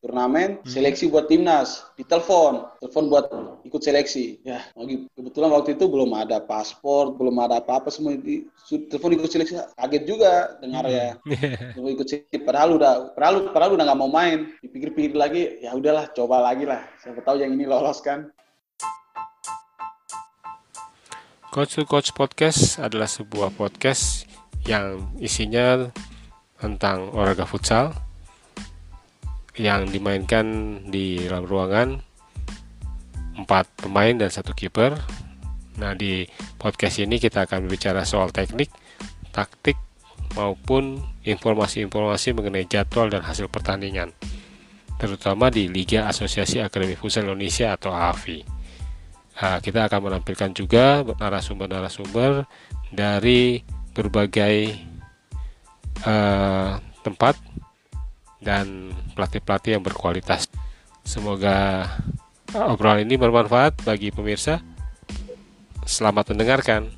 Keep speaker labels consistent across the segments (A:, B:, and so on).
A: turnamen seleksi buat timnas ditelepon telepon buat ikut seleksi ya lagi kebetulan waktu itu belum ada paspor belum ada apa-apa semua di, su- telepon ikut seleksi kaget juga dengar ya telepon ikut seleksi padahal udah padahal padahal udah nggak mau main dipikir-pikir lagi ya udahlah coba lagi lah siapa tahu yang ini lolos kan
B: Coach to Coach Podcast adalah sebuah podcast yang isinya tentang olahraga futsal yang dimainkan di dalam ruangan empat pemain dan satu kiper. Nah di podcast ini kita akan berbicara soal teknik, taktik maupun informasi-informasi mengenai jadwal dan hasil pertandingan, terutama di Liga Asosiasi Akademi Futsal Indonesia atau AFI. Nah, kita akan menampilkan juga narasumber-narasumber dari berbagai eh, tempat dan pelatih-pelatih yang berkualitas. Semoga eh, obrolan ini bermanfaat bagi pemirsa. Selamat mendengarkan.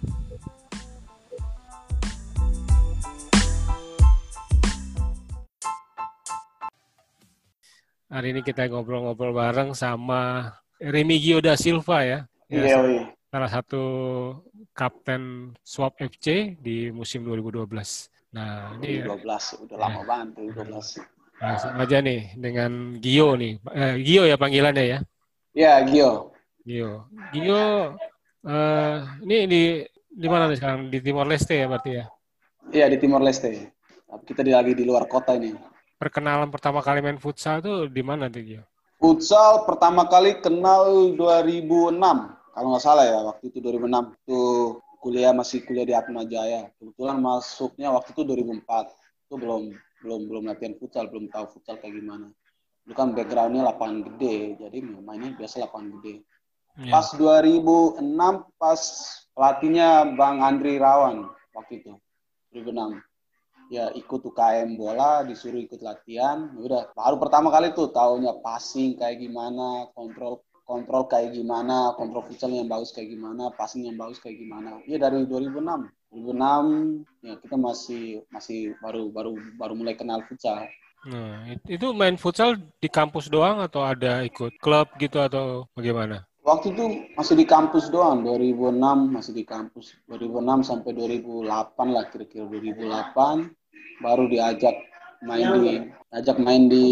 B: Hari ini kita ngobrol-ngobrol bareng sama Remigio da Silva ya. Ya,
A: iya iya
B: salah satu kapten Swap FC di musim 2012. Nah, ini
A: 12 ya, udah lama banget tuh, 12
B: langsung aja nih dengan Gio nih. Eh, Gio ya panggilannya ya.
A: ya Gio
B: Gio. Gio eh, ini di di mana nih sekarang? Di Timor Leste ya berarti ya.
A: iya di Timor Leste Tapi kita di- lagi di luar kota ini
B: Perkenalan pertama kali main futsal tuh di mana tuh Gio?
A: Futsal pertama kali kenal 2006, kalau nggak salah ya, waktu itu 2006. Itu kuliah masih kuliah di Atma Jaya. Kebetulan masuknya waktu itu 2004. Itu belum belum belum latihan futsal, belum tahu futsal kayak gimana. Dulu kan backgroundnya lapangan gede, jadi mainnya biasa lapangan gede.
B: Ya.
A: Pas 2006, pas pelatihnya Bang Andri Rawan waktu itu, 2006. Ya ikut UKM bola, disuruh ikut latihan. Ya Udah, baru pertama kali tuh taunya passing kayak gimana, kontrol kontrol kayak gimana, kontrol futsal yang bagus kayak gimana, passing yang bagus kayak gimana. Iya dari 2006. 2006 ya kita masih masih baru baru baru mulai kenal futsal.
B: Nah, it- itu main futsal di kampus doang atau ada ikut klub gitu atau bagaimana?
A: Waktu itu masih di kampus doang, 2006 masih di kampus. 2006 sampai 2008 lah kira-kira 2008 baru diajak main di ajak main di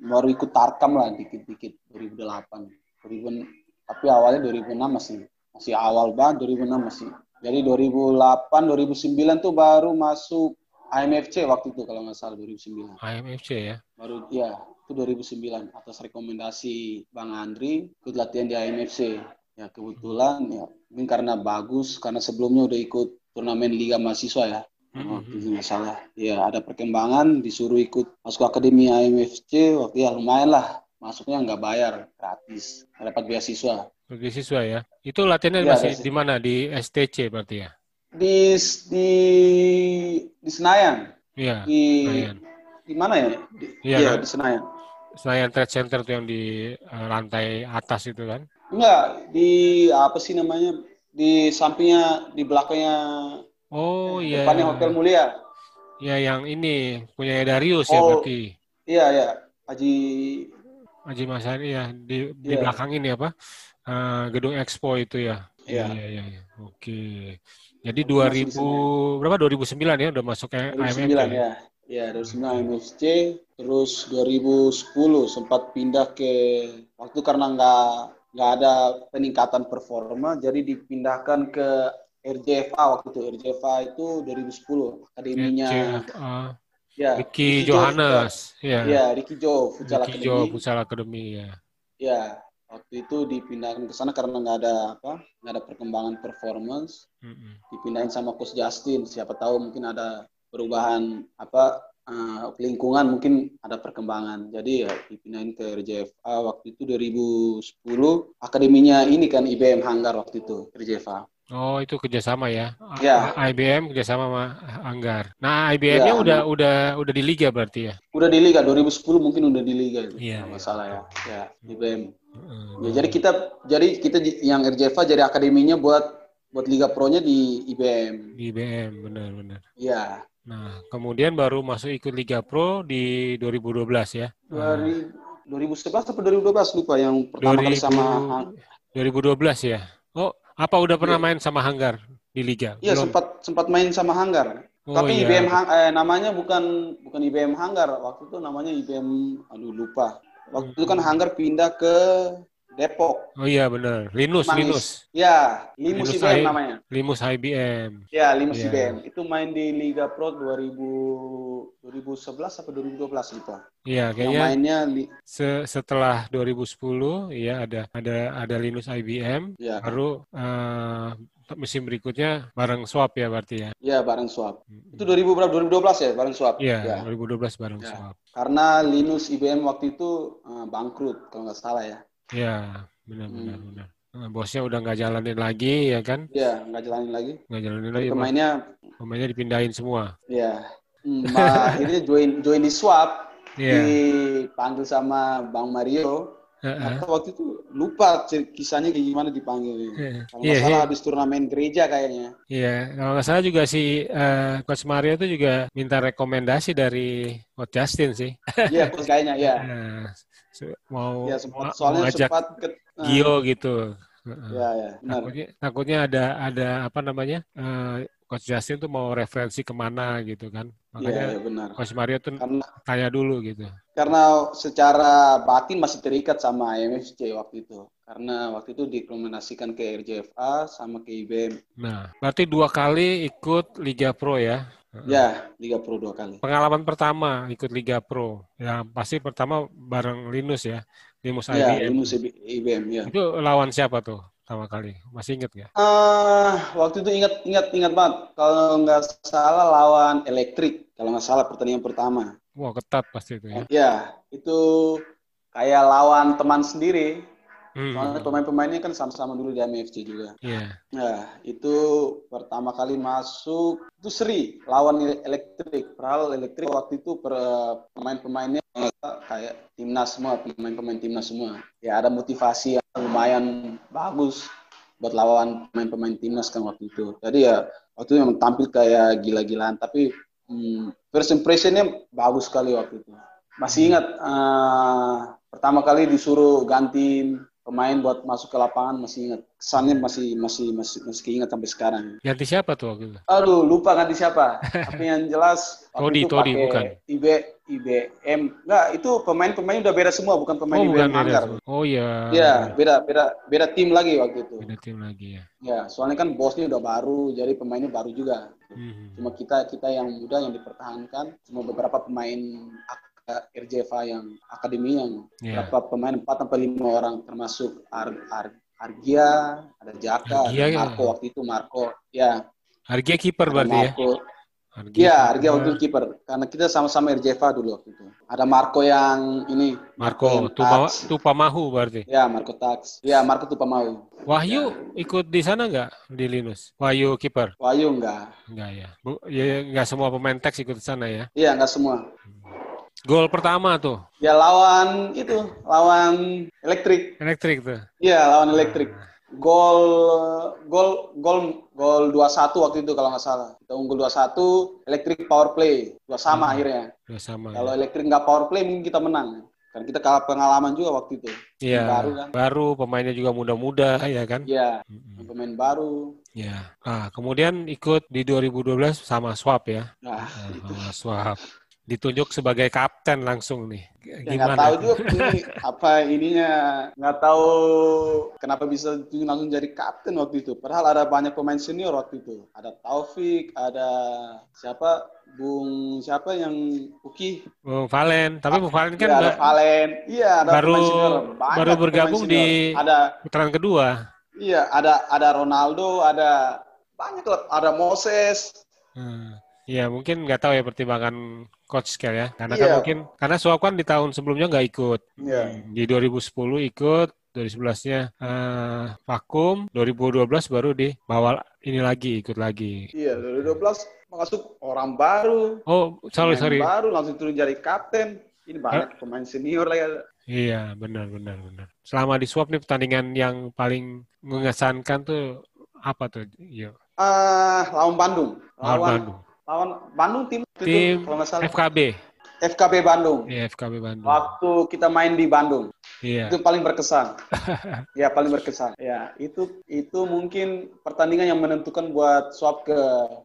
A: baru ikut tarkam lah dikit-dikit 2008. 2000 tapi awalnya 2006 masih masih awal banget 2006 masih. Jadi 2008 2009 tuh baru masuk AMFC waktu itu kalau nggak salah 2009
B: AMFC ya.
A: baru ya itu 2009 atas rekomendasi Bang Andri ikut latihan di AMFC ya kebetulan ya mungkin karena bagus karena sebelumnya udah ikut turnamen Liga Mahasiswa ya
B: Hmm,
A: waktu itu nggak salah ya ada perkembangan disuruh ikut masuk akademi AMFC waktu ya lumayan lah masuknya nggak bayar gratis dapat beasiswa
B: Bagi siswa ya. Itu latihannya
A: Iya,
B: masih
A: ada sih.
B: di mana? Di STC berarti ya.
A: di di di Senayan
B: Iya.
A: di
B: Senayan.
A: di mana ya di,
B: Iya,
A: iya,
B: kan?
A: di Senayan
B: Senayan Trade Center tuh yang di eh, lantai atas itu kan.
A: Enggak, di apa sih namanya? Di sampingnya, di belakangnya,
B: Oh iya.
A: depannya Hotel Mulia.
B: Ya yang ini punya Darius ya
A: Oh.
B: berarti.
A: Iya, iya. Haji
B: Haji Mas Hari ya di di
A: Iya.
B: belakang ini apa? Eh, gedung Expo itu ya.
A: Iya.
B: Iya iya iya. Oke. Jadi
A: Masih di
B: 2000
A: sana.
B: berapa? 2009 ya udah masuk ke
A: 2009
B: AMFC.
A: ya. Iya, 2009 MFC, terus 2010 sempat pindah ke waktu karena nggak nggak ada peningkatan performa, jadi dipindahkan ke RJFA waktu itu. RJFA itu 2010 akademinya.
B: CFA.
A: Ya,
B: eh, Ricky
A: Jo.
B: Johannes. Iya.
A: Iya, Ricky Jo, Futsal
B: Ricky Jo
A: Academy.
B: Futsal Academy ya.
A: Ya, waktu itu dipindahkan ke sana karena nggak ada apa, nggak ada perkembangan performance.
B: Mm-mm.
A: Dipindahin sama Coach Justin. Siapa tahu mungkin ada perubahan apa eh, lingkungan mungkin ada perkembangan. Jadi ya dipindahin ke RJFA waktu itu 2010. Akademinya ini kan IBM Hanggar waktu itu RJFA.
B: Oh, itu kerjasama ya? A-
A: Ya.
B: IBM kerjasama sama Anggar. Nah, IBM-nya
A: Ya.
B: udah udah udah di liga berarti ya?
A: Udah di Liga 2010 mungkin udah di Liga itu.
B: Iya,
A: Kalau nggak
B: iya.
A: salah ya. Ya, IBM.
B: Heeh. Hmm.
A: Ya, jadi kita jadi kita j- yang RJFA jadi akademinya buat buat Liga Pro-nya di IBM.
B: di IBM benar-benar.
A: Iya.
B: Nah, kemudian baru masuk ikut Liga Pro di 2012 ya. Nah,
A: Dari 2011 atau 2012 lupa yang pertama kali
B: 2000
A: sama
B: 2012 ya. Oh, apa udah pernah main sama Hanggar di liga?
A: Iya Ya.
B: Belum.
A: sempat sempat main sama Hanggar.
B: Oh,
A: Tapi
B: iya.
A: IBM Hang- eh, namanya bukan bukan IBM Hanggar. Waktu itu namanya IBM aduh lupa. Waktu itu
B: Hmm.
A: kan Hanggar pindah ke Depok.
B: Oh iya benar. Linus,
A: Mangis.
B: Linus.
A: Ya, Limus
B: Linus
A: IBM
B: Ain.
A: namanya.
B: Limus IBM.
A: Ya, Limus
B: Iya.
A: IBM. Itu main di Liga Pro 2000 2011 atau 2012 gitu.
B: Iya,
A: Yang
B: kayaknya
A: mainnya li-
B: se- setelah 2010 ya ada ada ada Linus IBM
A: ya,
B: baru eh, musim berikutnya bareng Swap ya berarti ya.
A: ya bareng Swap. Itu 2000 berapa? 2012 ya bareng Swap. Ya.
B: Iya, 2012 bareng
A: Ya.
B: Swap.
A: Karena Linus IBM waktu itu eh, bangkrut kalau nggak salah ya.
B: Iya, benar benar
A: Hmm.
B: benar. Nah, Bosnya udah nggak jalanin lagi ya kan?
A: Iya, nggak jalanin lagi.
B: Nggak jalanin lagi.
A: Pemainnya
B: Pemainnya dipindahin semua.
A: ya Hmm, ma- akhirnya join join di Swap
B: Iya.
A: dipanggil sama Bang Mario.
B: Heeh.
A: Atau waktu itu lupa cer- kisahnya kayak gimana dipanggil.
B: Iya.
A: Kalau
B: Iya,
A: nggak salah habis turnamen gereja kayaknya.
B: Iya, kalau nggak salah juga si eh, Coach Mario itu juga minta rekomendasi dari Coach Justin sih.
A: Iya, coach kayaknya ya.
B: Nah, se- mau,
A: Ya sempat
B: Oh, mau-
A: soalnya
B: mau ajak
A: sempat ke eh,
B: Gio gitu. Heeh.
A: Ya ya benar.
B: takutnya, takutnya ada ada apa namanya eh, Coach Justin tuh mau referensi kemana gitu kan.
A: Iya
B: Makanya
A: ya, benar.
B: Coach Mario tuh
A: Karena
B: tanya dulu gitu.
A: karena secara batin masih terikat sama MFC waktu itu. Karena waktu itu dikombinasikan ke RJFA sama ke IBM.
B: Nah, berarti dua kali ikut Liga Pro ya.
A: Ya, Liga Pro dua kali.
B: Pengalaman pertama ikut Liga Pro, ya pasti pertama bareng Linus ya, Linus
A: Ya,
B: IBM.
A: Linus IB- IBM ya.
B: Itu lawan siapa tuh pertama kali? Masih inget nggak?
A: Ah, waktu itu ingat ingat ingat banget. Kalau nggak salah lawan elektrik. Kalau nggak salah pertandingan pertama.
B: Wah ketat pasti itu ya.
A: Ya, itu kayak lawan teman sendiri.
B: Hmm.
A: Soalnya pemain-pemainnya kan sama-sama dulu di MFC juga.
B: Iya.
A: Nah, itu pertama kali masuk itu seri lawan ele- elektrik. Padahal elektrik waktu itu per- eh, pemain-pemainnya eh, kayak timnas semua, pemain-pemain timnas semua. Ya ada motivasi yang lumayan bagus buat lawan pemain-pemain timnas kan waktu itu. Jadi ya waktu itu memang tampil kayak gila-gilaan, tapi hmm, first impression-nya bagus sekali waktu itu. Masih ingat eh, pertama kali disuruh ganti pemain buat masuk ke lapangan masih ingat kesannya masih masih masih masih keinget sampai sekarang
B: Ganti siapa tuh waktu itu?
A: aduh lupa ganti siapa tapi yang jelas
B: Todi,
A: waktu itu
B: Todi,
A: pakai
B: bukan.
A: IB IBM enggak itu pemain-pemain udah beda semua bukan pemain
B: Oh bukan
A: IBM
B: beda.
A: Anggar
B: tuh. Oh iya.
A: Iya, beda beda beda tim lagi waktu itu
B: Beda tim lagi ya.
A: ya soalnya kan bosnya udah baru jadi pemainnya baru juga
B: Hmm.
A: cuma kita kita yang muda yang dipertahankan cuma beberapa pemain AK RJFA yang akademi yang
B: Iya.
A: berapa pemain 4 sampai 5 orang termasuk Ar Ar- Argia, ada Jaka, ada
B: Argia, ya.
A: Marco waktu itu Marco. Ya,
B: Harga kiper
A: ada
B: berarti ya.
A: Marco.
B: Harga
A: Iya, Argia waktu itu kiper. Karena kita sama-sama RJFA dulu waktu itu. Ada Marco yang ini,
B: Marco
A: yang
B: Tupama,
A: Tax.
B: Tupamahu berarti.
A: Ya, Marco Tax. Ya, Marco tuh pemau.
B: Wahyu ikut di sana nggak di Linus? Wahyu kiper?
A: Wahyu enggak.
B: Nggak ya. Bu, ya nggak semua pemain teks ikut di sana ya.
A: Iya, enggak semua.
B: Gol pertama tuh
A: Ya lawan itu, lawan elektrik.
B: elektrik tuh.
A: Iya, lawan elektrik. Gol gol gol gol 2-1 waktu itu kalau nggak salah. Kita unggul 2-1, elektrik power play. Dua sama
B: Hmm.
A: akhirnya.
B: Udah sama.
A: Kalau elektrik nggak power play mungkin kita menang. Karena kita kalah pengalaman juga waktu itu.
B: Iya.
A: baru kan.
B: Baru pemainnya juga muda-muda ya kan.
A: Iya,
B: Mm-mm.
A: pemain baru.
B: Ya, nah, kemudian ikut di 2012 sama Swap ya,
A: Nah,
B: Nah, sama Swap. Ditunjuk sebagai kapten langsung nih. G-
A: ya nggak tahu
B: Gimana?
A: juga ini apa ininya. Nggak tahu kenapa bisa ditunjuk langsung jadi kapten waktu itu. Padahal ada banyak pemain senior waktu itu. Ada Taufik, ada siapa? Bung siapa yang Uki?
B: Bung Oh, Valen, tapi Bung Valen kan
A: Iya, ada
B: ba-
A: Valen. Iya, ada
B: baru-
A: pemain senior. Banyak
B: baru
A: pemain
B: bergabung
A: senior.
B: di-
A: ada
B: putaran kedua.
A: iya, ada ada Ronaldo, ada banyak lah, ada Moses.
B: Hmm. Ya mungkin nggak tahu ya pertimbangan coach kali ya. Karena kan
A: Iya.
B: mungkin karena Swap kan di tahun sebelumnya nggak ikut.
A: Iya.
B: Di 2010 ikut, 2011-nya eh, vakum, 2012 baru dibawa ini lagi ikut lagi.
A: Iya, 2012 masuk orang baru.
B: Oh, sorry
A: pemain
B: sorry.
A: Baru langsung turun jadi kapten. Ini banyak pemain senior lagi.
B: Iya, benar, benar, benar. Selama di swap nih pertandingan yang paling mengesankan tuh apa tuh? Yo.
A: Eh, lawan Bandung.
B: Lawan Bandung.
A: Lawan Bandung tim
B: Tim
A: kalau nggak salah
B: FKB.
A: FKB Bandung.
B: Iya, FKB Bandung.
A: Waktu kita main di Bandung,
B: Iya.
A: itu paling berkesan. ya, paling berkesan. Ya, itu itu mungkin pertandingan yang menentukan buat swap ke,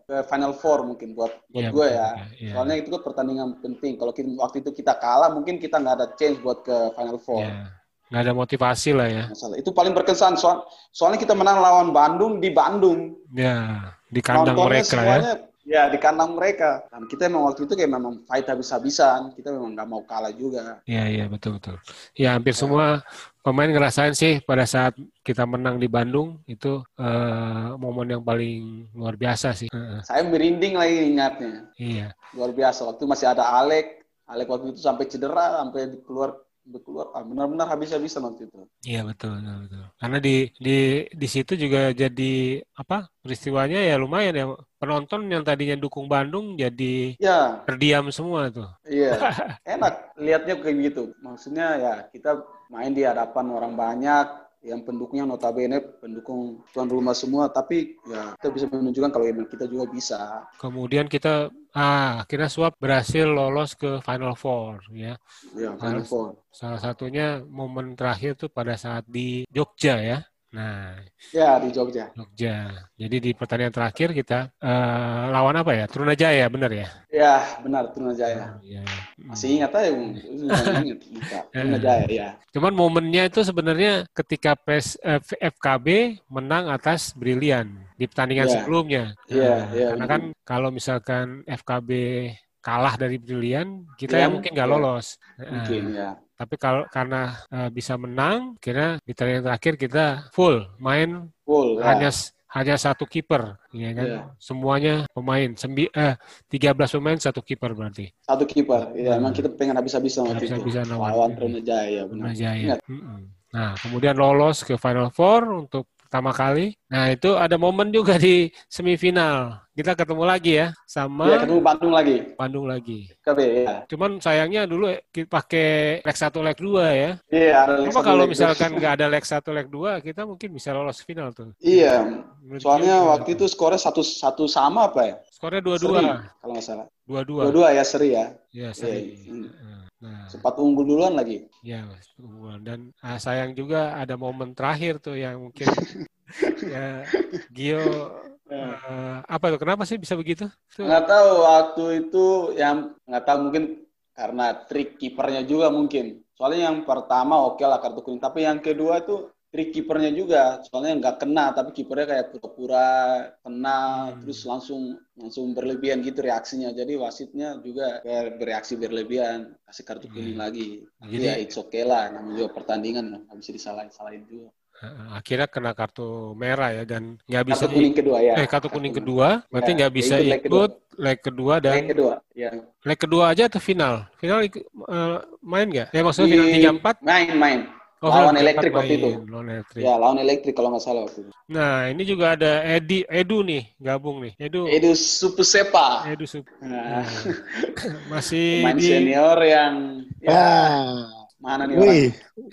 A: ke final four mungkin buat buat
B: Iya,
A: gue
B: betul,
A: ya.
B: iya.
A: Soalnya itu kan pertandingan penting. Kalau kita, waktu itu kita kalah, mungkin kita nggak ada chance buat ke final four.
B: Iya. Nggak ada motivasi lah ya.
A: Masalah. Itu paling berkesan. Soal, soalnya kita menang lawan Bandung di Bandung.
B: Ya, di kandang
A: Nontonnya
B: mereka ya.
A: semuanya, ya. di kandang mereka. Dan kita memang waktu itu kayak memang fight habis-habisan. Kita memang nggak mau kalah juga.
B: Iya, iya, betul, betul. Ya, hampir semua pemain ngerasain sih pada saat kita menang di Bandung, itu eh, momen yang paling luar biasa sih. Heeh,
A: Saya merinding lagi ingatnya.
B: iya,
A: Luar biasa. Waktu masih ada Alek. Alek waktu itu sampai cedera, sampai keluar keluar ah, benar-benar habis-habisan waktu itu.
B: iya, betul, betul, betul. Karena di, di, di situ juga jadi, apa, peristiwanya ya lumayan ya. Penonton yang tadinya dukung Bandung jadi
A: Ya,
B: terdiam semua tuh.
A: iya. Enak lihatnya kayak gitu. Maksudnya ya kita main di hadapan orang banyak yang pendukungnya notabene pendukung tuan rumah semua tapi ya kita bisa menunjukkan kalau emang kita juga bisa
B: Kemudian kita, ah, akhirnya Swap berhasil lolos ke Final Four, ya.
A: ya final
B: Harus.
A: four
B: Salah satunya momen terakhir tuh pada saat di Jogja ya. Nah,
A: ya di Jogja
B: Jogja. Jadi di pertandingan terakhir kita eh, lawan apa ya? Trunajaya bener ya?
A: Ya, benar Trunajaya.
B: Iya. Hmm.
A: Masih ingat aja, Bung. Ingat, lupa. Trunajaya, ya.
B: Cuman momennya itu sebenarnya ketika PES, eh, FKB menang atas Brilian di pertandingan
A: Iya.
B: sebelumnya.
A: Iya,
B: Nah,
A: iya,
B: Karena
A: betul.
B: kan kalau misalkan FKB kalah dari Brilian, kita
A: Brilian,
B: ya mungkin nggak
A: iya.
B: lolos. Nah,
A: Mungkin, ya.
B: tapi kalau karena eh, bisa menang, kira di pertandingan terakhir kita full main
A: Full, ya.
B: hanya hanya satu kiper, ya kan?
A: Iya.
B: Semuanya pemain, sembi eh 13 pemain satu kiper berarti.
A: Satu kiper. Ya, emang kita pengen habis-habisan waktu itu.
B: Habis-habisan lawan.
A: Lawan Trunajaya, ya, benar.
B: Brunajaya. Mm-mm. Nah, kemudian lolos ke Final Four untuk pertama kali. Nah, itu ada momen juga di semifinal. Kita ketemu lagi ya sama
A: Iya, ketemu Bandung lagi.
B: Bandung lagi.
A: KB, ya.
B: Cuman sayangnya dulu kita pakai leg 1 leg 2 ya.
A: Iya, ada
B: Cuma
A: satu
B: kalau
A: lagi.
B: misalkan nggak ada leg 1 leg 2, kita mungkin bisa lolos final tuh.
A: Iya,
B: Menurut
A: soalnya
B: gimana?
A: waktu itu skornya satu satu sama apa ya?
B: skornya
A: Seri,
B: 2-2.
A: kalau nggak salah.
B: 2-2.
A: Dua-dua ya seri ya. Iya,
B: Ya, seri.
A: iya.
B: Nah,
A: sempat unggul duluan lagi.
B: ya Mas, keunggulan. dan ah, sayang juga ada momen terakhir tuh yang mungkin ya Gio
A: Ya.
B: eh, apa tuh kenapa sih bisa begitu? Tuh,
A: Nggak tahu waktu itu yang nggak tahu mungkin karena trik kipernya juga mungkin. Soalnya yang pertama oke lah kartu kuning, tapi yang kedua itu trik kipernya juga. Soalnya nggak kena, tapi kipernya kayak pura-pura kena,
B: Hmm.
A: terus langsung langsung berlebihan gitu reaksinya. Jadi wasitnya juga ber- bereaksi berlebihan, kasih kartu kuning lagi. Jadi
B: Hmm. Jadi-
A: ya it's okay lah, namanya juga pertandingan, nggak bisa disalahin-salahin juga.
B: eh, akhirnya kena kartu merah ya dan nggak bisa
A: Kartu kuning kedua ya.
B: eh kartu kuning kedua berarti
A: Ya,
B: nggak
A: ya
B: bisa
A: ikut leg
B: ikut,
A: kedua.
B: leg kedua dan
A: Yang kedua, ya.
B: leg kedua aja atau final final ik- eh, main nggak? Ya maksudnya final
A: Di-
B: tiga empat
A: Main-main.
B: Oh,
A: lawan
B: final
A: elektrik
B: 3-4
A: waktu itu.
B: main, lawan elektrik.
A: Ya, lawan elektrik kalau nggak salah waktu itu.
B: Nah ini juga ada Edi Edu nih gabung nih Edu
A: Edu Super Sepa.
B: Edu Sup-
A: Nah,
B: masih
A: pemain
B: di
A: senior yang ya,
C: Ah,
A: mana nih orang?
C: wih,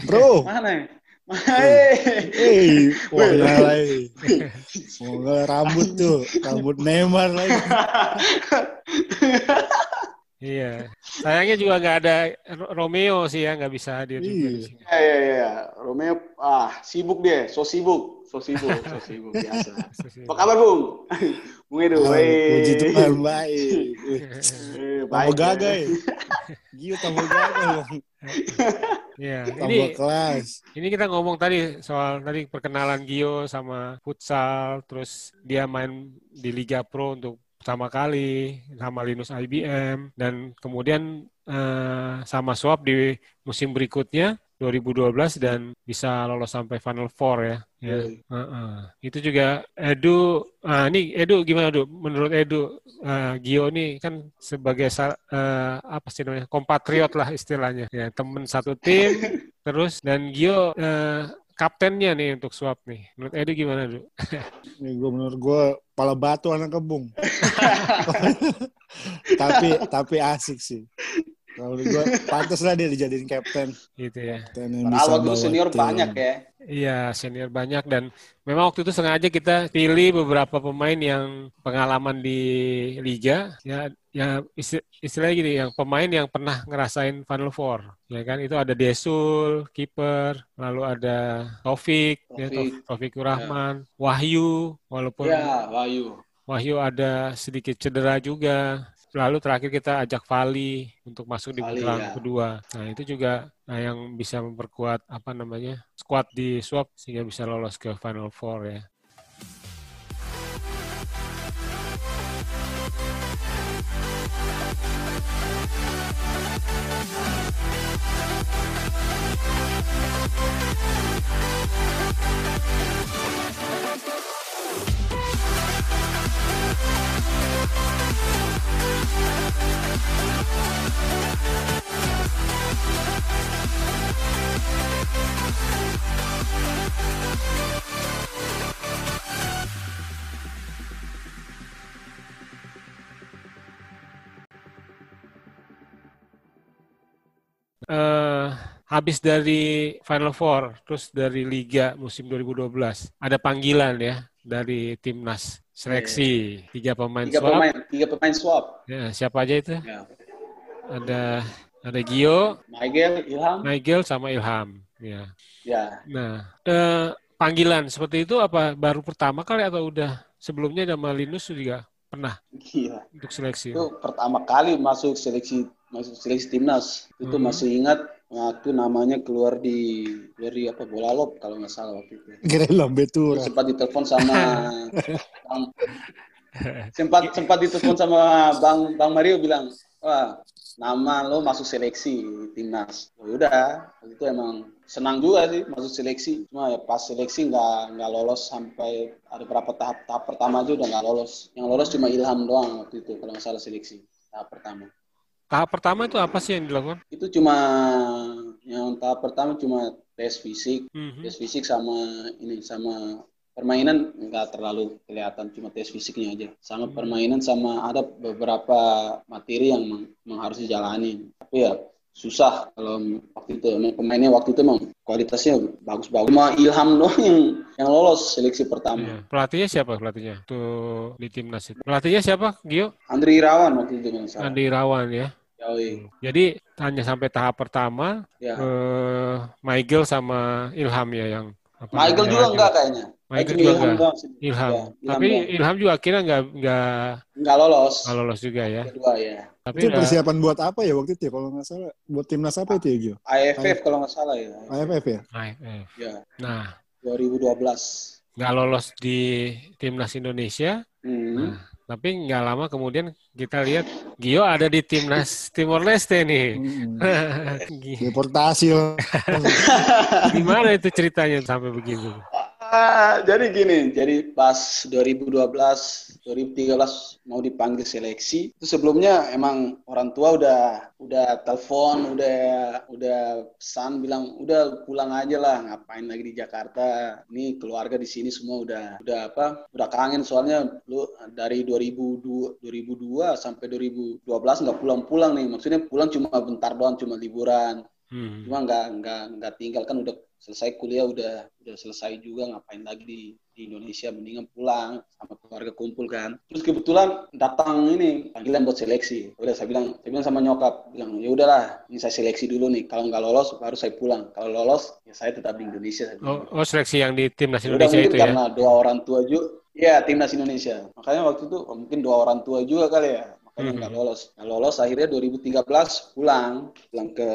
C: bro,
A: Mana? ya? Hei.
C: wih, wah
A: Wih.
C: nggak lagi. Semoga rambut tuh, rambut Neymar lagi.
B: Iya. Sayangnya juga nggak ada Ro- Romeo sih ya, nggak bisa hadir juga di
C: Iya.
B: sini.
A: Ya, ya, ya. Romeo ah sibuk dia, so sibuk, so sibuk, so sibuk biasa. Apa kabar, Bung? Bung Edu.
C: Oh,
A: hei.
C: Puji Tuhan, baik. Wih,
A: Eh,
C: Tambah
A: baik,
C: gagal
A: ya.
C: ya. Gio tambah gagal, Bang.
B: Iya. Ini
C: tambah kelas.
B: ini kita ngomong tadi soal tadi perkenalan Gio sama futsal, terus dia main di Liga Pro untuk pertama kali sama Linus IBM dan kemudian eh, sama Swap di musim berikutnya 2012 dan bisa lolos sampai Final Four ya. Ya. Heeh. Itu juga Edu, ah ini Edu gimana Edu? Menurut Edu, eh, Gio ini kan sebagai sa- eh, apa sih namanya kompatriot lah istilahnya, ya temen satu tim, terus dan Gio eh, kaptennya nih untuk swap nih. Menurut Edu gimana Edu?
C: Ini gue menurut gue pala batu anak kebung. tapi tapi asik sih. Kalau menurut gue pantas lah dia dijadiin kapten.
B: Gitu ya.
C: Kapten yang bisa
A: Padahal waktu
C: bawa
A: senior
C: tim.
A: banyak ya.
B: Iya, senior banyak dan memang waktu itu sengaja kita pilih beberapa pemain yang pengalaman di liga ya ya isti- istilahnya gini yang pemain yang pernah ngerasain Final Four ya kan itu ada Desul kiper lalu ada Taufik ya Taufik,
A: Taufik.
B: Taufikur Rahman Wahyu walaupun
A: Ya, Wahyu.
B: Wahyu ada sedikit cedera juga. Lalu terakhir kita ajak Vali untuk masuk di
A: Vali,
B: putaran
A: ya.
B: kedua. Nah itu juga nah, yang bisa memperkuat apa namanya squad di swap sehingga bisa lolos ke Final Four ya. eh habis dari Final Four, terus dari Liga musim 2012, ada panggilan ya dari timnas seleksi tiga pemain
A: Tiga
B: swap.
A: pemain, tiga pemain swap.
B: Ya, siapa aja itu?
A: Ya.
B: Ada ada Gio,
A: Michael, Ilham.
B: Nigel, sama Ilham. Ya.
A: Ya,
B: Nah, eh, panggilan seperti itu apa baru pertama kali atau udah sebelumnya sama Linus juga pernah
A: gila.
B: untuk seleksi?
A: itu pertama kali masuk seleksi masuk seleksi timnas itu
B: Mhm.
A: masih ingat waktu namanya keluar di dari apa bola lob kalau nggak salah waktu itu
C: Kira lambe
A: Terus
C: tuh.
A: sempat ditelepon sama bang, sempat sempat ditelepon sama bang bang Mario bilang wah nama lo masuk seleksi timnas oh, udah waktu itu emang senang juga sih masuk seleksi cuma ya pas seleksi nggak nggak lolos sampai ada berapa tahap tahap pertama aja udah nggak lolos yang lolos cuma Ilham doang waktu itu kalau nggak salah seleksi tahap pertama
B: Tahap pertama itu apa sih yang dilakukan?
A: itu cuma yang tahap pertama cuma tes fisik
B: Mhm.
A: tes fisik sama ini sama permainan nggak terlalu kelihatan cuma tes fisiknya aja sama
B: Hmm.
A: permainan sama ada beberapa materi yang meng, meng harus dijalani tapi ya susah kalau waktu itu Emang pemainnya waktu itu emang kualitasnya bagus-bagus cuma Ilham doang yang yang lolos seleksi
B: Iya.
A: pertama
B: Pelatihnya siapa pelatihnya? Tuh di timnas itu. Pelatihnya siapa? Gio?
A: Andri Irawan waktu itu kalau nggak salah
B: Andi Rawan ya.
A: Yoi.
B: Jadi hanya sampai tahap pertama
A: ya
B: eh Michael sama Ilham ya yang apa
A: Michael
B: namanya
A: juga
B: lagi?
A: enggak kayaknya
B: Michael
A: Kayaknya
B: juga
A: Ilham
B: nggak.
A: doang sih.
B: Ilham.
A: Ya, Ilham
B: Tapi
A: doang.
B: Ilham juga akhirnya nggak nggak
A: nggak lolos
B: nggak lolos juga ya.
A: kedua ya
B: Tapi
C: Itu
B: udah-
C: persiapan buat apa ya waktu itu ya? Kalau nggak salah, buat timnas apa itu ya Gio?
A: AFF kalau nggak salah ya
C: AFF ya?
B: Nah, eh.
A: ya
B: nah
A: 2012
B: nggak lolos di timnas Indonesia,
A: hmm.
B: tapi nggak lama kemudian kita lihat Gio ada di timnas Timor Leste nih.
C: Hmm.
A: Iya.
B: Gi-
C: Deportasi loh.
B: Gimana itu ceritanya sampai begitu?
A: Ah, jadi gini, jadi pas 2012, 2013 mau dipanggil seleksi, itu sebelumnya emang orang tua udah udah telepon, udah udah pesan bilang udah pulang aja lah, ngapain lagi di Jakarta? Ini keluarga di sini semua udah udah apa? Udah kangen soalnya lu dari 2002 2002 sampai 2012 nggak pulang-pulang nih. Maksudnya pulang cuma bentar doang, cuma liburan
B: Hmm.
A: cuma nggak nggak nggak tinggal kan udah selesai kuliah udah udah selesai juga ngapain lagi di, di Indonesia mendingan pulang sama keluarga kumpul kan terus kebetulan datang ini panggilan buat seleksi udah saya bilang saya bilang sama nyokap bilang ya udahlah ini saya seleksi dulu nih kalau nggak lolos baru saya pulang kalau lolos ya saya tetap di Indonesia saya bilang.
B: Oh, oh, seleksi yang di timnas
A: Ya
B: Indonesia
A: udah, mungkin
B: itu ya?
A: karena dua orang tua juga ya timnas Indonesia makanya waktu itu oh, mungkin dua orang tua juga kali ya makanya
B: Mhm.
A: nggak lolos nggak lolos akhirnya 2013 pulang pulang ke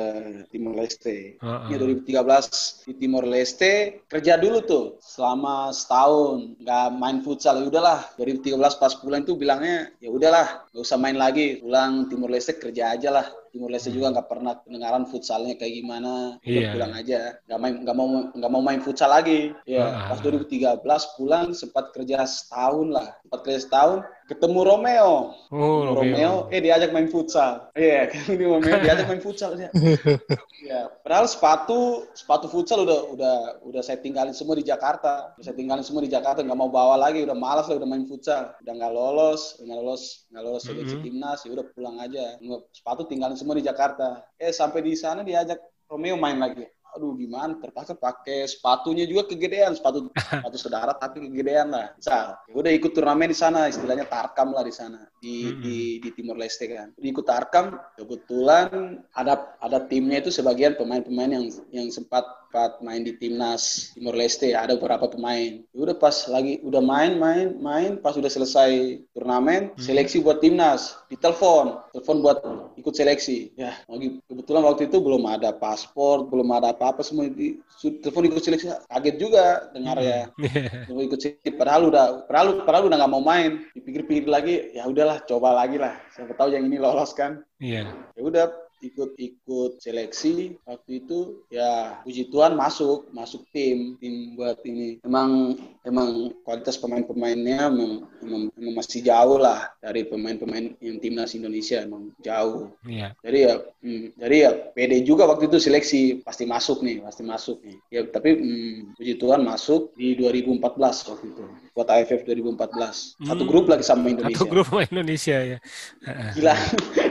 A: Timor Leste
B: Heeh.
A: Ya, 2013 di Timor Leste kerja dulu tuh selama setahun nggak main futsal ya udahlah 2013 pas pulang tuh bilangnya ya udahlah nggak usah main lagi pulang Timor Leste kerja aja lah Timor Leste juga nggak pernah kedengaran futsalnya kayak gimana udah
B: Iya.
A: pulang aja nggak main nggak mau nggak mau main futsal lagi ya
B: Ah.
A: pas 2013 pulang sempat kerja setahun lah sempat kerja setahun ketemu Romeo
B: Oh,
A: Romeo.
B: Romeo.
A: eh diajak main futsal. Iya, kan ini Romeo diajak main futsal dia. Iya, padahal sepatu sepatu futsal udah udah udah saya tinggalin semua di Jakarta. Udah saya tinggalin semua di Jakarta, nggak mau bawa lagi, udah malas lah udah main futsal. Udah nggak lolos, nggak lolos, nggak lolos seleksi
B: Mhm.
A: timnas, ya udah pulang aja. Nggak- Sepatu tinggalin semua di Jakarta. Eh sampai di sana diajak Romeo main lagi. aduh gimana terpaksa pakai sepatunya juga kegedean sepatu sepatu saudara tapi kegedean lah misal ya udah ikut turnamen di sana istilahnya tarkam lah di sana di
B: Mm-mm.
A: di di Timor Leste kan Udah ikut tarkam kebetulan ada ada timnya itu sebagian pemain-pemain yang yang sempat sempat main di timnas Timor Leste ada beberapa pemain Ya udah pas lagi udah main main main pas udah selesai turnamen
B: Hmm.
A: seleksi buat timnas ditelepon telepon buat ikut seleksi ya lagi kebetulan waktu itu belum ada paspor belum ada apa-apa semua di su- telepon ikut seleksi kaget juga dengar ya Gua ikut City padahal udah padahal padahal udah nggak mau main dipikir-pikir lagi ya udahlah coba lagi lah siapa tahu yang ini lolos kan
B: Iya.
A: ya udah ikut-ikut seleksi waktu itu ya puji Tuhan masuk masuk tim tim buat ini emang emang kualitas pemain-pemainnya memang, memang- memang masih jauh lah dari pemain-pemain yang timnas Indonesia emang jauh
B: Iya.
A: jadi ya, hmm, jadi ya PD juga waktu itu seleksi pasti masuk nih, pasti masuk nih. Ya tapi hmm, puji Tuhan masuk di 2014 waktu itu. Buat AFF 2014. Satu
B: Hmm.
A: grup lagi sama Indonesia.
B: Satu grup sama Indonesia ya. Heeh.
A: Gila.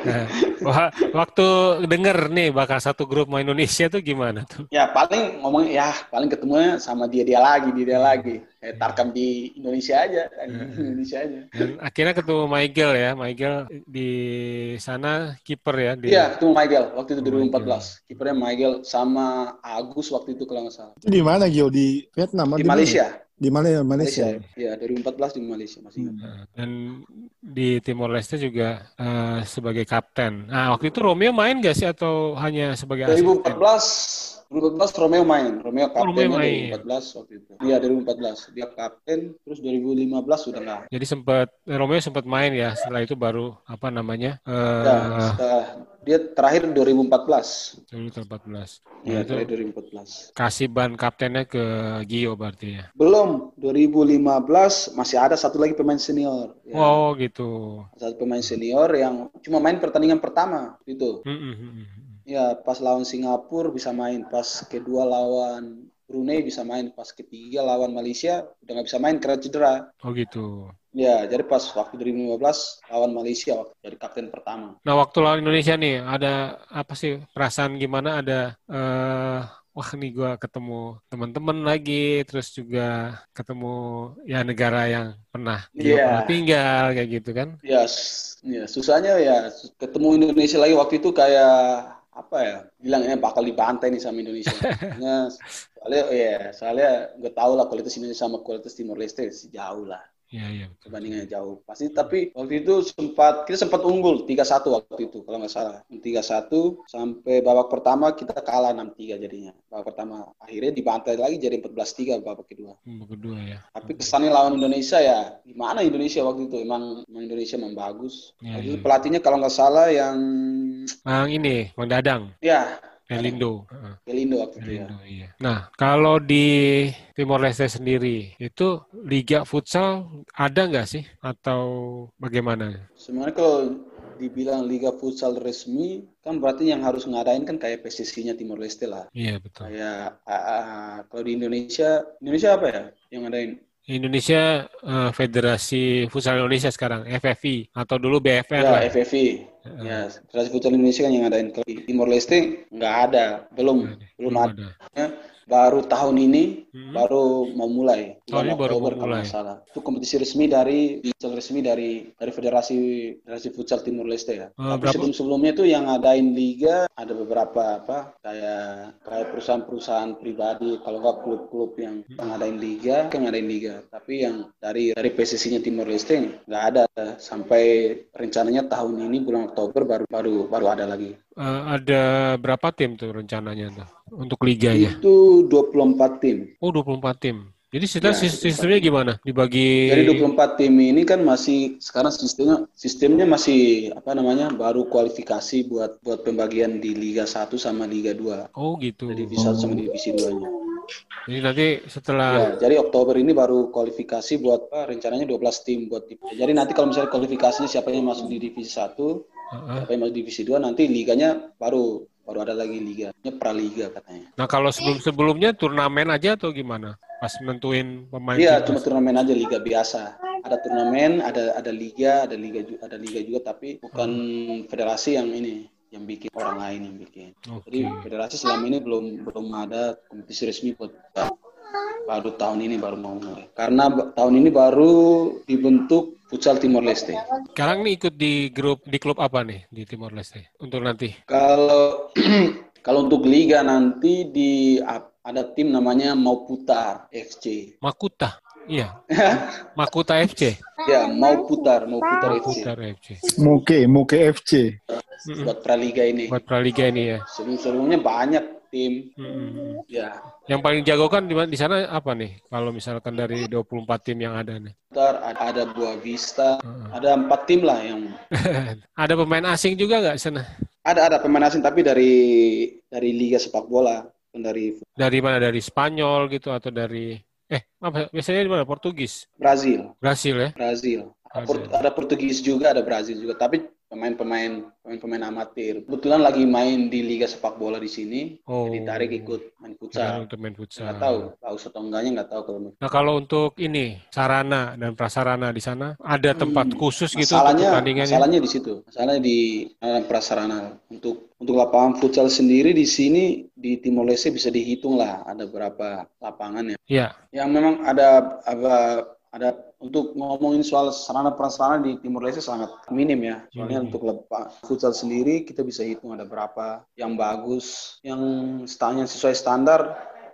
B: Nah, wah, waktu denger nih bakal satu grup sama Indonesia tuh gimana tuh?
A: ya paling ngomong ya paling ketemunya sama dia dia lagi, dia
B: Hmm.
A: dia lagi. Kayak tarkam di Indonesia aja, kan, di Indonesia aja.
B: Dan akhirnya ketemu Michael ya, Michael di sana kiper ya di
A: Iya, ketemu Michael waktu itu
B: Oh, Michael.
A: 2014. Kipernya Michael sama Agus waktu itu kalau nggak salah.
C: Itu di mana Gio? Oh, Di
A: Di
C: Vietnam? atau mana?
A: Malaysia.
C: Di Malaysia, Malaysia.
A: Malaysia. Iya, 2014 di Malaysia masih. ingat.
B: Nah, Dan di Timor Leste juga eh, sebagai kapten. Nah, waktu itu Romeo main gak sih atau hanya sebagai asisten?
A: 2014 2014 Romeo main, Romeo
B: Oh,
A: kapten
B: Romeo main.
A: 2014 waktu itu. Iya 2014 dia kapten, terus 2015 sudah nggak.
B: Jadi sempat Romeo sempat main ya. Setelah itu baru apa namanya?
A: Ya,
B: eh
A: setelah- dia terakhir 2014.
B: 2014.
A: Ya. Iya
B: Nah, itu
A: terakhir 2014.
B: kasih ban kaptennya ke Gio berarti ya.
A: Belum 2015 masih ada satu lagi pemain senior. ya.
B: Wow gitu.
A: Satu pemain senior yang cuma main pertandingan pertama itu.
B: Mm, mm, mm, mm.
A: Ya pas lawan Singapura bisa main, pas kedua lawan Brunei bisa main, pas ketiga lawan Malaysia udah nggak bisa main karena cedera.
B: Oh gitu.
A: Ya, jadi pas waktu 2015 lawan Malaysia waktu jadi kapten pertama.
B: Nah waktu lawan Indonesia nih ada apa sih perasaan gimana ada eh wah nih gua ketemu teman-teman lagi terus juga ketemu ya negara yang pernah dia
A: Iya.
B: pernah tinggal kayak gitu kan.
A: Ya, s- ya susahnya ya su- ketemu Indonesia lagi waktu itu kayak apa ya? Bilangnya bakal dibantai nih sama Indonesia. Karena soalnya ya, soalnya gue tau lah kualitas Indonesia sama kualitas Timor Leste sejauh lah
B: Iya iya. betul.
A: perbandingannya jauh. Pasti tapi waktu itu sempat kita sempat unggul 3-1 waktu itu kalau nggak salah. 3-1 sampai babak pertama kita kalah 6-3 jadinya. Babak pertama akhirnya dibantai lagi jadi 14-3 babak kedua.
B: Babak kedua ya.
A: Tapi kesannya lawan Indonesia ya gimana Indonesia waktu itu emang, emang Indonesia emang bagus.
B: Iya,
A: Waktu itu
B: iya.
A: pelatihnya kalau nggak salah yang
B: Bang ini Bang Dadang
A: ya
B: Elindo. Heeh.
A: Pelindo waktu itu ya.
B: Elindo, iya. Nah, kalau di Timor Leste sendiri itu liga futsal ada nggak sih atau bagaimana?
A: Sebenarnya kalau dibilang liga futsal resmi kan berarti yang harus ngadain kan kayak PSSI-nya Timor Leste lah.
B: Iya betul.
A: Kayak ah, ah, kalau di Indonesia Indonesia apa ya yang ngadain?
B: Indonesia eh, Federasi Futsal Indonesia sekarang FFI atau dulu BFR lah. Eh,
A: Ya FFV.
B: Iya.
A: Ya, Federasi Futsal Indonesia kan yang ngadain. Kalau di Timor Leste nggak ada, belum belum
B: Iya, Belum
A: ada.
B: ada.
A: Baru tahun ini
B: Hmm.
A: baru mau mulai
B: Tahun
A: bulan
B: ini baru
A: Oktober
B: mau
A: kalau
B: mulai.
A: nggak salah itu kompetisi resmi dari futsal resmi dari dari federasi federasi futsal Timur Leste ya
B: Eh,
A: tapi
B: berapa?
A: sebelum sebelumnya tuh yang ngadain liga ada beberapa apa kayak kayak perusahaan-perusahaan pribadi kalau nggak klub-klub yang
B: Hmm.
A: ngadain liga kan ngadain liga tapi yang dari dari PSSI-nya Timur Leste nggak ada sampai rencananya tahun ini bulan Oktober baru baru baru ada lagi
B: Eh, ada berapa tim tuh rencananya tuh untuk liganya?
A: itu 24 tim
B: Oh 24 tim. Jadi sistem
A: Ya,
B: sis- sistemnya gimana? Dibagi
A: Jadi 24 tim ini kan masih sekarang sistemnya sistemnya masih apa namanya baru kualifikasi buat buat pembagian di Liga 1 sama Liga 2.
B: Oh gitu.
A: Divisi 1 sama divisi 2-nya.
B: Jadi nanti setelah
A: Ya, jadi Oktober ini baru kualifikasi buat apa, rencananya 12 tim buat Jadi nanti kalau misalnya kualifikasinya siapa yang masuk di divisi 1,
B: Heeh.
A: siapa yang masuk di divisi 2 nanti liganya baru baru ada lagi liganya praliga katanya.
B: Nah, kalau sebelum-sebelumnya turnamen aja atau gimana? Pas nentuin pemain
A: Iya,
B: timnas.
A: cuma turnamen aja liga biasa. Ada Hmm. turnamen, ada ada liga, ada liga ju- ada liga juga tapi bukan federasi yang ini, yang bikin orang lain yang bikin.
B: Oke.
A: Jadi federasi selama ini belum belum ada kompetisi resmi buat futsal. baru tahun ini baru mau mulai. Karena ba- tahun ini baru dibentuk futsal Timor Leste.
B: Sekarang nih ikut di grup di klub apa nih di Timor Leste untuk nanti?
A: Kalau kalau untuk liga nanti di ap- ada tim namanya Mauputar FC.
B: Makuta. Iya. Makuta FC.
A: Ya, Mauputar, Mauputar FC.
B: Makuta FC.
C: Muke, Muke FC.
B: Mm-mm.
A: Buat praliga ini.
B: Buat Praliga ini ya.
A: Sebelum-sebelumnya banyak tim.
B: Mm-mm.
A: Ya,
B: Yang paling jago kan di, mana- di sana apa nih? Kalau misalkan dari 24 tim yang ada nih.
A: Mauputar, ada, ada Buah Vista,
B: Heeh.
A: ada empat tim lah yang
B: ada pemain asing juga nggak di sana?
A: Ada ada pemain asing tapi dari dari liga sepak bola bukan dari
B: Dari mana? Dari Spanyol gitu atau dari eh apa biasanya di mana? Portugis.
A: Brazil.
B: Brasil ya.
A: Brazil. Ada,
B: Brazil.
A: Port- ada Portugis juga, ada Brazil juga, tapi pemain-pemain pemain-pemain amatir. Kebetulan lagi main di liga sepak bola di sini,
B: Oh.
A: ditarik ikut main
B: Kirain
A: futsal.
B: Iya, untuk main futsal.
A: Nggak tahu, tahu atau enggaknya nggak tahu kalau
B: Nah kalau untuk ini sarana dan prasarana di sana ada tempat
A: Hmm.
B: khusus gitu untuk
A: masalahnya
B: pertandingan ya?
A: masalahnya di situ masalahnya di dalam prasarana untuk untuk lapangan futsal sendiri di sini di Timor Leste bisa dihitung lah ada berapa lapangan ya
B: Iya.
A: yang memang ada ada ada untuk ngomongin soal sarana prasarana di Timor Leste sangat minim ya soalnya
B: Minim.
A: untuk lepak futsal sendiri kita bisa hitung ada berapa yang bagus yang stanya sesuai standar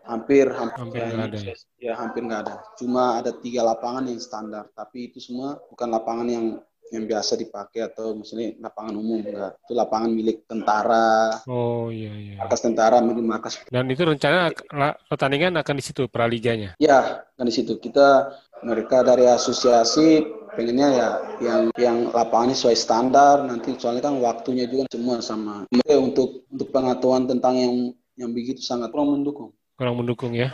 A: hampir hampir,
B: Hampir
A: yang
B: nggak ada ya?
A: ya hampir nggak ada cuma ada tiga lapangan yang standar tapi itu semua bukan lapangan yang yang biasa dipakai atau maksudnya lapangan umum enggak itu lapangan milik tentara
B: Oh iya iya.
A: markas tentara milik markas
B: Dan itu rencana ak- la- pertandingan akan di situ praliganya.
A: Ya, kan di situ kita mereka dari asosiasi pengennya ya yang yang lapangannya sesuai standar nanti soalnya kan waktunya juga semua sama. Oke, untuk untuk pengetahuan tentang yang yang begitu sangat kurang mendukung.
B: Kurang mendukung ya.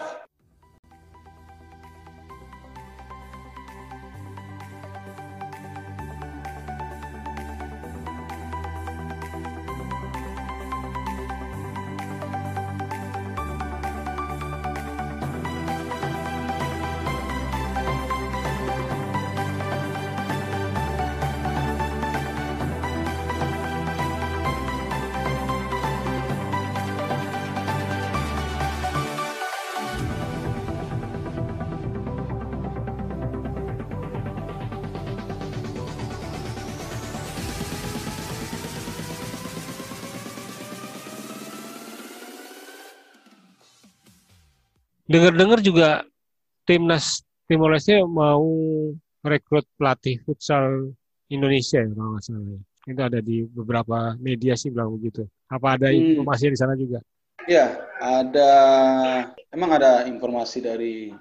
B: Dengar-dengar juga timnas Timor Leste mau merekrut pelatih futsal Indonesia ya kalau nggak salah. ya. Itu ada di beberapa media sih bilang begitu. Apa ada
A: Hmm.
B: informasi di sana juga?
A: Ya, ada emang ada informasi dari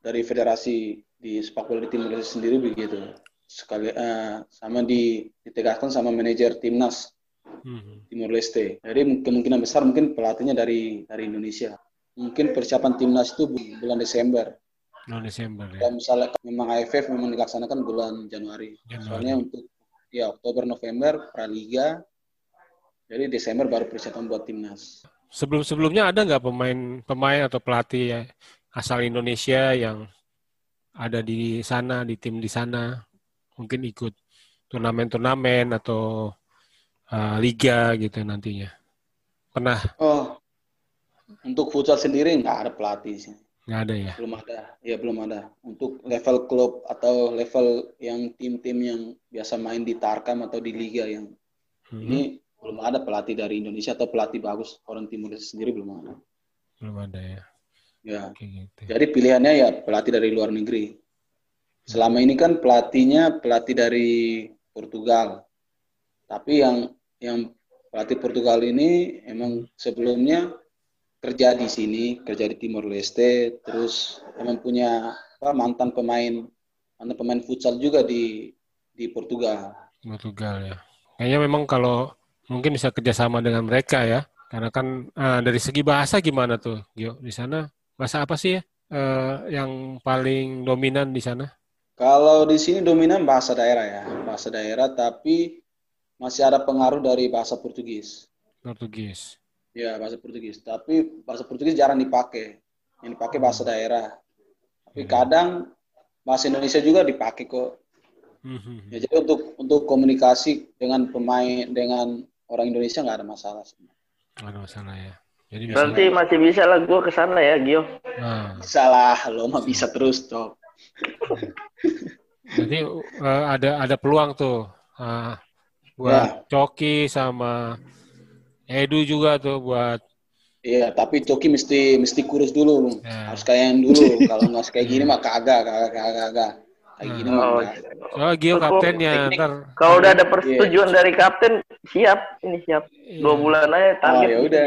A: dari federasi di sepak bola di Timor Leste sendiri begitu. Sekali eh, sama di ditegaskan sama manajer timnas
B: Hmm.
A: Timor Leste. Jadi mung- kemungkinan besar mungkin pelatihnya dari dari Indonesia. Mungkin persiapan timnas itu bu- bulan Desember.
B: Bulan Desember ya.
A: Kalau misalnya memang AFF memang dilaksanakan bulan Januari.
B: Januari.
A: Soalnya untuk ya Oktober November Praliga. Jadi Desember baru persiapan buat timnas.
B: Sebelum-sebelumnya ada nggak pemain-pemain atau pelatih ya, asal Indonesia yang ada di sana, di tim di sana, mungkin ikut turnamen-turnamen atau uh, liga gitu nantinya. Pernah
A: Oh, untuk futsal sendiri nggak ada pelatih sih.
B: nggak ada ya?
A: Belum ada. Ya belum ada. Untuk level klub atau level yang tim-tim yang biasa main di Tarkam atau di Liga yang
B: Hmm,
A: Ini belum ada pelatih dari Indonesia atau pelatih bagus orang Timur Leste sendiri belum ada.
B: belum ada ya.
A: Ya.
B: Oke gitu.
A: Jadi pilihannya ya pelatih dari luar negeri. Selama ini kan pelatihnya pelatih dari Portugal. Tapi yang yang pelatih Portugal ini emang sebelumnya kerja di sini, kerja di Timor Leste, terus emang punya apa, mantan pemain mantan pemain futsal juga di di Portugal.
B: Portugal ya. Kayaknya memang kalau mungkin bisa kerjasama dengan mereka ya. Karena kan ah, dari segi bahasa gimana tuh, Gio? Di sana bahasa apa sih ya eh, yang paling dominan di sana?
A: Kalau di sini dominan bahasa daerah ya, bahasa daerah tapi masih ada pengaruh dari bahasa Portugis.
B: Portugis.
A: Ya, bahasa Portugis. Tapi bahasa Portugis jarang dipakai. Yang dipakai bahasa daerah. Tapi kadang bahasa Indonesia juga dipakai kok.
B: Mhm.
A: Ya, jadi untuk untuk komunikasi dengan pemain dengan orang Indonesia nggak ada masalah sih.
B: Nggak ada masalah ya. Jadi bisa.
D: Nanti masih bisa lah gue kesana ya, Gio.
B: Nah,
A: Salah, lo mah bisa terus toh.
B: jadi eh, ada ada peluang tuh ah,
D: Ya.
B: buat Coki sama Edu juga tuh buat
A: Iya, tapi Coki mesti mesti kurus dulu, Lung.
B: Ya.
A: harus kayak yang dulu. Kalau nggak kayak gini mah kagak, kagak, kagak, kagak. Kayak gini mah
D: Oh,
A: nggak.
B: soalnya Gio
D: Terus
B: kaptennya
A: teknik.
B: ntar.
D: Kalau udah
A: Iya,
D: ada persetujuan dari kapten, siap. Ini siap. Dua
B: Iya.
D: bulan aja
A: Oh
D: target.
A: ya udah.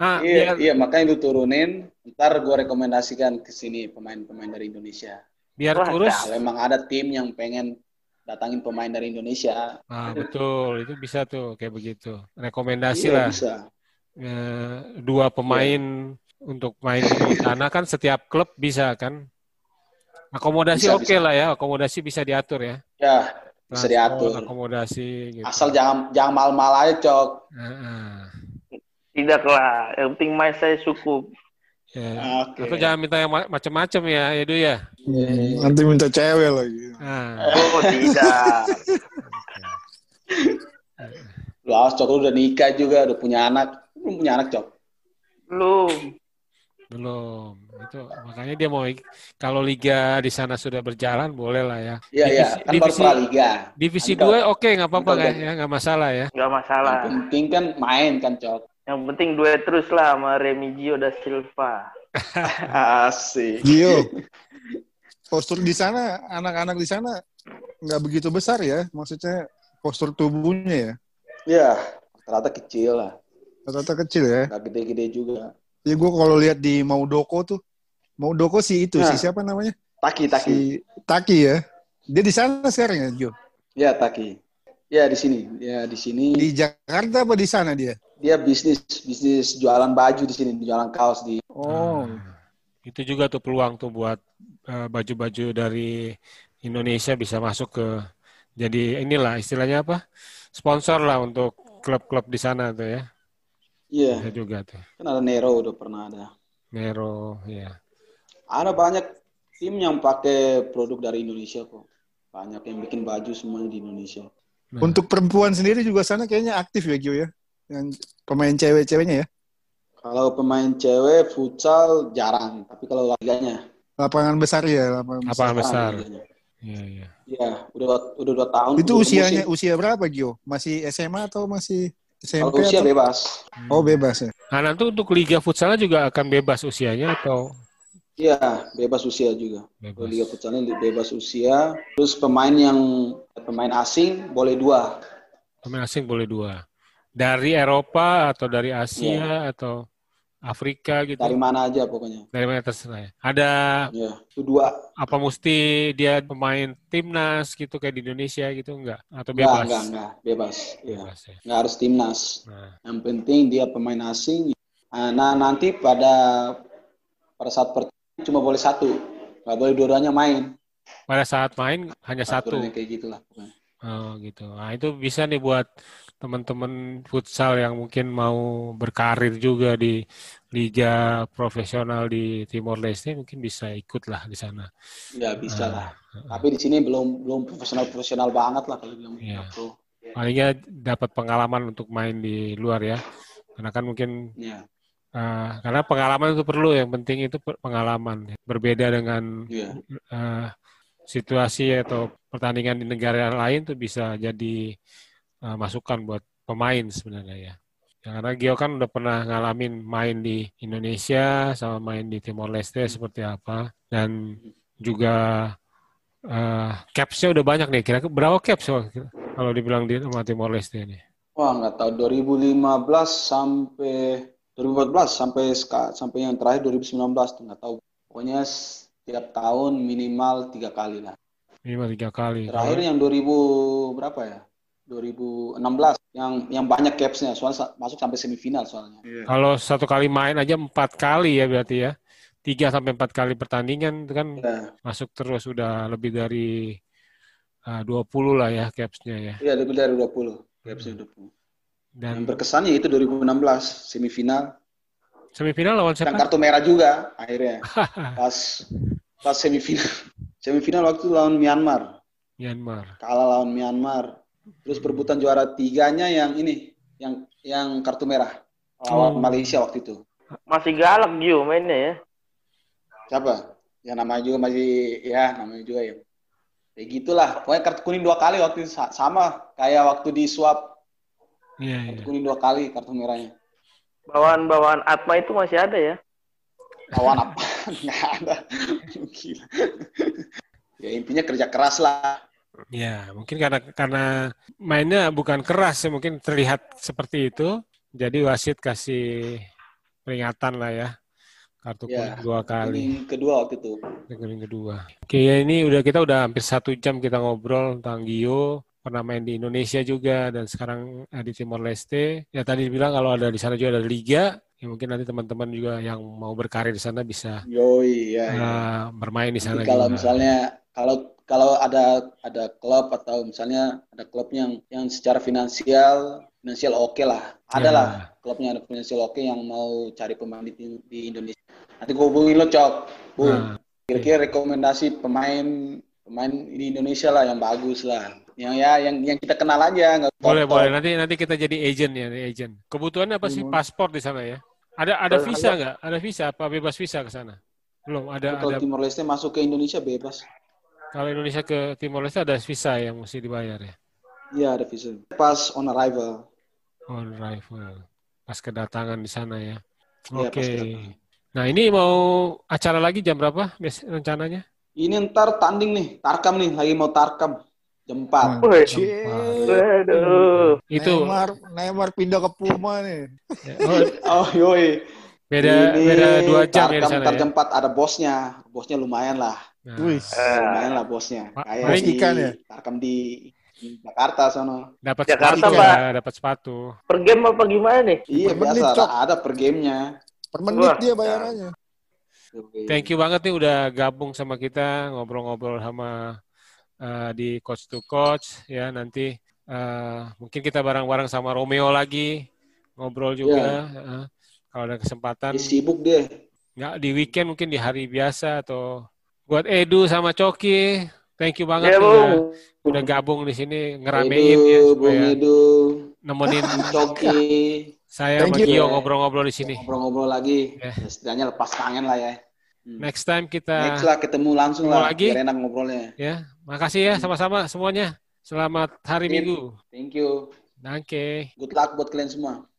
B: Ah,
A: Iya,
B: biar,
A: iya makanya lu turunin. Ntar gue rekomendasikan ke sini pemain-pemain dari Indonesia.
B: biar
D: Wah,
B: kurus.
A: Kalau emang Nah, ada tim yang pengen datangin pemain dari Indonesia,
B: Ah, betul, itu bisa tuh kayak begitu.
A: iya,
B: Rekomendasi lah.
A: bisa. Iya.
B: Eh, dua pemain untuk main di sana kan setiap klub bisa kan. Akomodasi
A: Bisa,
B: oke lah ya, akomodasi bisa diatur ya.
A: Ya, bisa
B: Transport,
A: diatur.
B: Akomodasi gitu.
A: Asal jangan jangan mal-mal aja, Cok.
B: Ah, ah.
D: Tidak lah. Yang penting main saya cukup.
B: Ya.
A: Oke.
B: Atau jangan minta yang ma- macam-macam ya, Edu ya.
A: Iya.
C: Nanti minta cewek lagi.
B: Ah,
D: Oh tidak.
A: Lu awas, Cok. Lu udah nikah juga, udah punya anak. Lu punya anak, Cok.
D: Belum.
B: belum. Itu makanya dia mau ik- kalau liga di sana sudah berjalan boleh lah ya.
A: Iya, iya.
B: Divisi-
A: Kan baru
B: divisi-
A: praliga.
B: Divisi
A: Angkat.
B: 2 oke nggak apa-apa
A: Angkat,
B: nggak ya, nggak masalah ya.
D: Gak
A: Yang
D: masalah.
A: penting kan main kan, Cok.
D: Yang penting duet terus lah sama Remigio da Silva.
A: Asik.
C: Gio, postur di sana, anak-anak di sana nggak begitu besar ya. Maksudnya postur tubuhnya ya.
A: Ya, ternyata kecil lah.
C: Rata-rata kecil ya.
A: Gak gede-gede juga.
C: Ya gue kalau lihat di Maudoko tuh. Maudoko si itu,
A: Nah.
C: si siapa namanya?
A: Taki, taki.
C: Si Taki ya. Dia di sana sekarang ya, Gio?
A: Ya, taki. Ya, di sini. Ya, di sini.
C: Di Jakarta apa di sana dia?
A: dia bisnis bisnis jualan baju di sini jualan kaos di
B: Ah.
C: Oh,
B: Itu juga tuh peluang tuh buat eh, baju-baju dari Indonesia bisa masuk ke jadi inilah istilahnya apa? Sponsor lah untuk klub-klub di sana tuh ya.
A: iya
B: Bisa juga tuh.
A: kan ada Nero udah pernah ada
B: Mero ya.
A: ada banyak tim yang pakai produk dari Indonesia kok banyak yang bikin baju semua di Indonesia
B: Nah,
C: untuk perempuan sendiri juga sana kayaknya aktif ya, Gio ya? Yang pemain cewek-ceweknya ya?
A: kalau pemain cewek futsal jarang tapi kalau liganya
C: Lapangan besar ya, lapangan besar.
B: lapangan besar.
A: jarang liganya.
B: Iya, iya.
A: Iya, udah udah dua tahun.
C: Itu
A: udah
C: usianya
A: musim.
C: usia berapa Gio? Masih SMA atau masih
A: Kalau
C: SMP?
A: usia
C: atau-
A: bebas.
C: Oh bebas ya.
B: Nah, nanti untuk liga futsalnya juga akan bebas usianya atau
A: Iya, bebas usia juga. Kalau liga
B: bebas.
A: futsalnya di- bebas usia. Terus pemain yang pemain asing boleh dua.
B: Pemain asing boleh dua. Dari Eropa atau dari Asia atau Afrika
A: Iya.
B: gitu.
A: Dari mana aja pokoknya.
B: Dari mana terserah ya. Ada
A: Iya, itu dua
B: apa mesti dia pemain timnas gitu kayak di Indonesia gitu enggak atau
A: Enggak,
B: bebas?
A: enggak, enggak. Bebas. Iya.
B: Bebas ya.
A: Enggak harus timnas.
B: Nah,
A: Yang penting dia pemain asing. Ah, Nah, nanti pada pada saat pertandingan cuma boleh satu. Enggak boleh dua-duanya main.
B: pada saat main hanya satu.
A: Aturannya kayak gitulah pokoknya.
B: Oh, gitu. Nah, itu bisa nih buat teman-teman futsal yang mungkin mau berkarir juga di liga profesional di Timor Leste mungkin bisa ikut lah di sana.
A: Ya bisa lah.
B: Ah, ah.
A: Tapi di sini belum belum profesional-profesional banget lah kalau bilang
B: Iya.
A: pro.
B: Palingnya dapat pengalaman untuk main di luar ya. Karena kan mungkin
A: Iya.
B: eh, karena pengalaman itu perlu yang penting itu per- pengalaman. Berbeda dengan
A: Iya.
B: eh, situasi atau pertandingan di negara lain tuh bisa jadi eh, masukan buat pemain sebenarnya ya. Ya, Karena Gio kan udah pernah ngalamin main di Indonesia sama main di Timor Leste seperti apa dan juga eh capsnya udah banyak nih. Kira-kira berapa caps kalau- kalau dibilang di sama Timor Leste ini?
A: Wah, nggak tahu 2015 sampai 2014 sampai seka- sampai yang terakhir 2019 tuh nggak tahu. Pokoknya setiap tahun minimal tiga kali lah.
B: Minimal tiga kali.
A: Terakhir yang 2000 berapa ya? 2016 yang yang banyak capsnya soalnya sa- masuk sampai semifinal soalnya.
B: Kalau satu kali main aja empat kali ya berarti ya. Tiga sampai empat kali pertandingan itu kan
A: Iya,
B: masuk terus udah lebih dari uh, 20 lah ya capsnya ya
A: iya lebih dari 20 capsnya 20. Yang
B: dan
A: berkesannya itu 2016 semifinal
B: semifinal lawan
A: dan
B: siapa?
A: kartu merah juga akhirnya pas pas semifinal semifinal waktu lawan Myanmar
B: Myanmar.
A: kalah lawan Myanmar terus perebutan juara tiganya yang ini yang yang kartu merah lawan
B: Oh.
A: Malaysia waktu itu.
D: Masih galak Gio mainnya ya.
A: Siapa? Ya namanya juga masih ya namanya juga ya. Ya gitulah. Pokoknya kartu kuning dua kali waktu itu Sa- sama kayak waktu di swap
B: Iya,
A: kartu
B: iya.
A: kuning dua kali kartu merahnya.
D: Bawaan-bawaan Atma itu masih ada ya.
A: Lawan apa? Nggak ada. Gila. ya intinya kerja keras lah.
B: Ya, mungkin karena karena mainnya bukan keras ya, mungkin terlihat seperti itu. Jadi wasit kasih peringatan lah ya. Kartu
A: Ya,
B: kuning dua kali.
A: Kuning kedua waktu itu.
B: Negeri kedua. Oke, ya ini udah kita udah hampir satu jam kita ngobrol tentang Gio pernah main di Indonesia juga dan sekarang eh, di Timor Leste. Ya tadi bilang kalau ada di sana juga ada liga, ya mungkin nanti teman-teman juga yang mau berkarir di sana bisa
A: Yoi ya. ya.
B: eh, bermain di
A: Jadi
B: sana
A: kalau
B: juga.
A: misalnya kalau kalau ada ada klub atau misalnya ada klub yang yang secara finansial finansial oke lah, ada
B: Ya.
A: lah klubnya ada finansial oke yang mau cari pemain di, tim- di Indonesia. Nanti gue hubungin lo cok, bu.
B: Nah,
A: Kira-kira rekomendasi pemain pemain di Indonesia lah yang bagus lah, yang ya yang yang kita kenal aja. nggak
B: boleh
A: top-top.
B: boleh nanti nanti kita jadi agent ya, jadi agent. Kebutuhannya apa sih
A: Hmm.
C: Belum.
B: paspor di sana ya? Ada ada
D: Kalau-
B: visa nggak? Ada visa apa bebas visa ke sana? Belum ada
A: Kalau
B: ada
A: Timor Leste masuk ke Indonesia bebas.
B: kalau Indonesia ke Timor Leste ada visa yang mesti dibayar ya.
A: Iya ada visa. Pas on arrival.
B: On arrival. Pas kedatangan di sana ya.
A: Iya,
B: Oke.
A: pas kedatangan.
B: Nah, ini mau acara lagi jam berapa bias- rencananya?
A: Ini ntar tanding nih, tarkam nih lagi mau tarkam jam 4.
D: Wih.
C: Cie.
D: Waduh.
B: Itu
C: Nah, Neymar, Neymar pindah ke Puma nih.
B: oh,
A: Oh, yoi.
B: beda
A: Ini
B: beda dua jam ya di
A: Tarkam
B: sana
A: ntar
B: ya.
A: jam 4 ada bosnya. Bosnya lumayan lah.
B: Nah,
C: Wis.
D: Ah,
A: Lumayan lah bosnya.
B: Ma-
A: Kayak
B: paling
A: di
C: ikan ya?
A: Tarkam di di Jakarta sono.
B: dapat
D: Jakarta,
B: sepatu
C: Pak.
B: ya, dapat sepatu.
D: Per game apa gimana nih?
A: Iya,
C: Bermenit,
A: biasa ada,
C: Cok.
A: ada per gamenya.
C: Per menit
D: Wah.
C: dia bayarannya.
A: Yoi.
B: Thank you banget nih udah gabung sama kita ngobrol-ngobrol sama eh, di coach to coach ya nanti eh, mungkin kita bareng-bareng sama Romeo lagi ngobrol juga
A: Iya.
B: eh, kalau ada kesempatan.
A: Dia sibuk deh.
B: nggak di weekend mungkin di hari biasa atau buat Edu sama Coki thank you banget
D: Ya,
B: nih udah,
D: Bung.
B: udah gabung di sini ngeramein
A: Edu,
B: ya
A: Bung
B: supaya
A: Edu,
B: nemenin
A: Coki.
B: saya sama
C: Thank you.
B: Gio ngobrol-ngobrol di sini
A: Ngobrol-ngobrol lagi.
B: Ya.
A: Ya, setidaknya lepas kangen lah ya. Hmm.
B: next time kita
A: Next lah, ketemu langsung
B: Ketemu
A: lah.
B: lagi.
A: Biar enak ngobrolnya.
B: ya makasih ya sama-sama semuanya selamat
A: Sip.
B: hari Minggu
A: Thank you.
B: Oke.
A: Good luck buat kalian semua.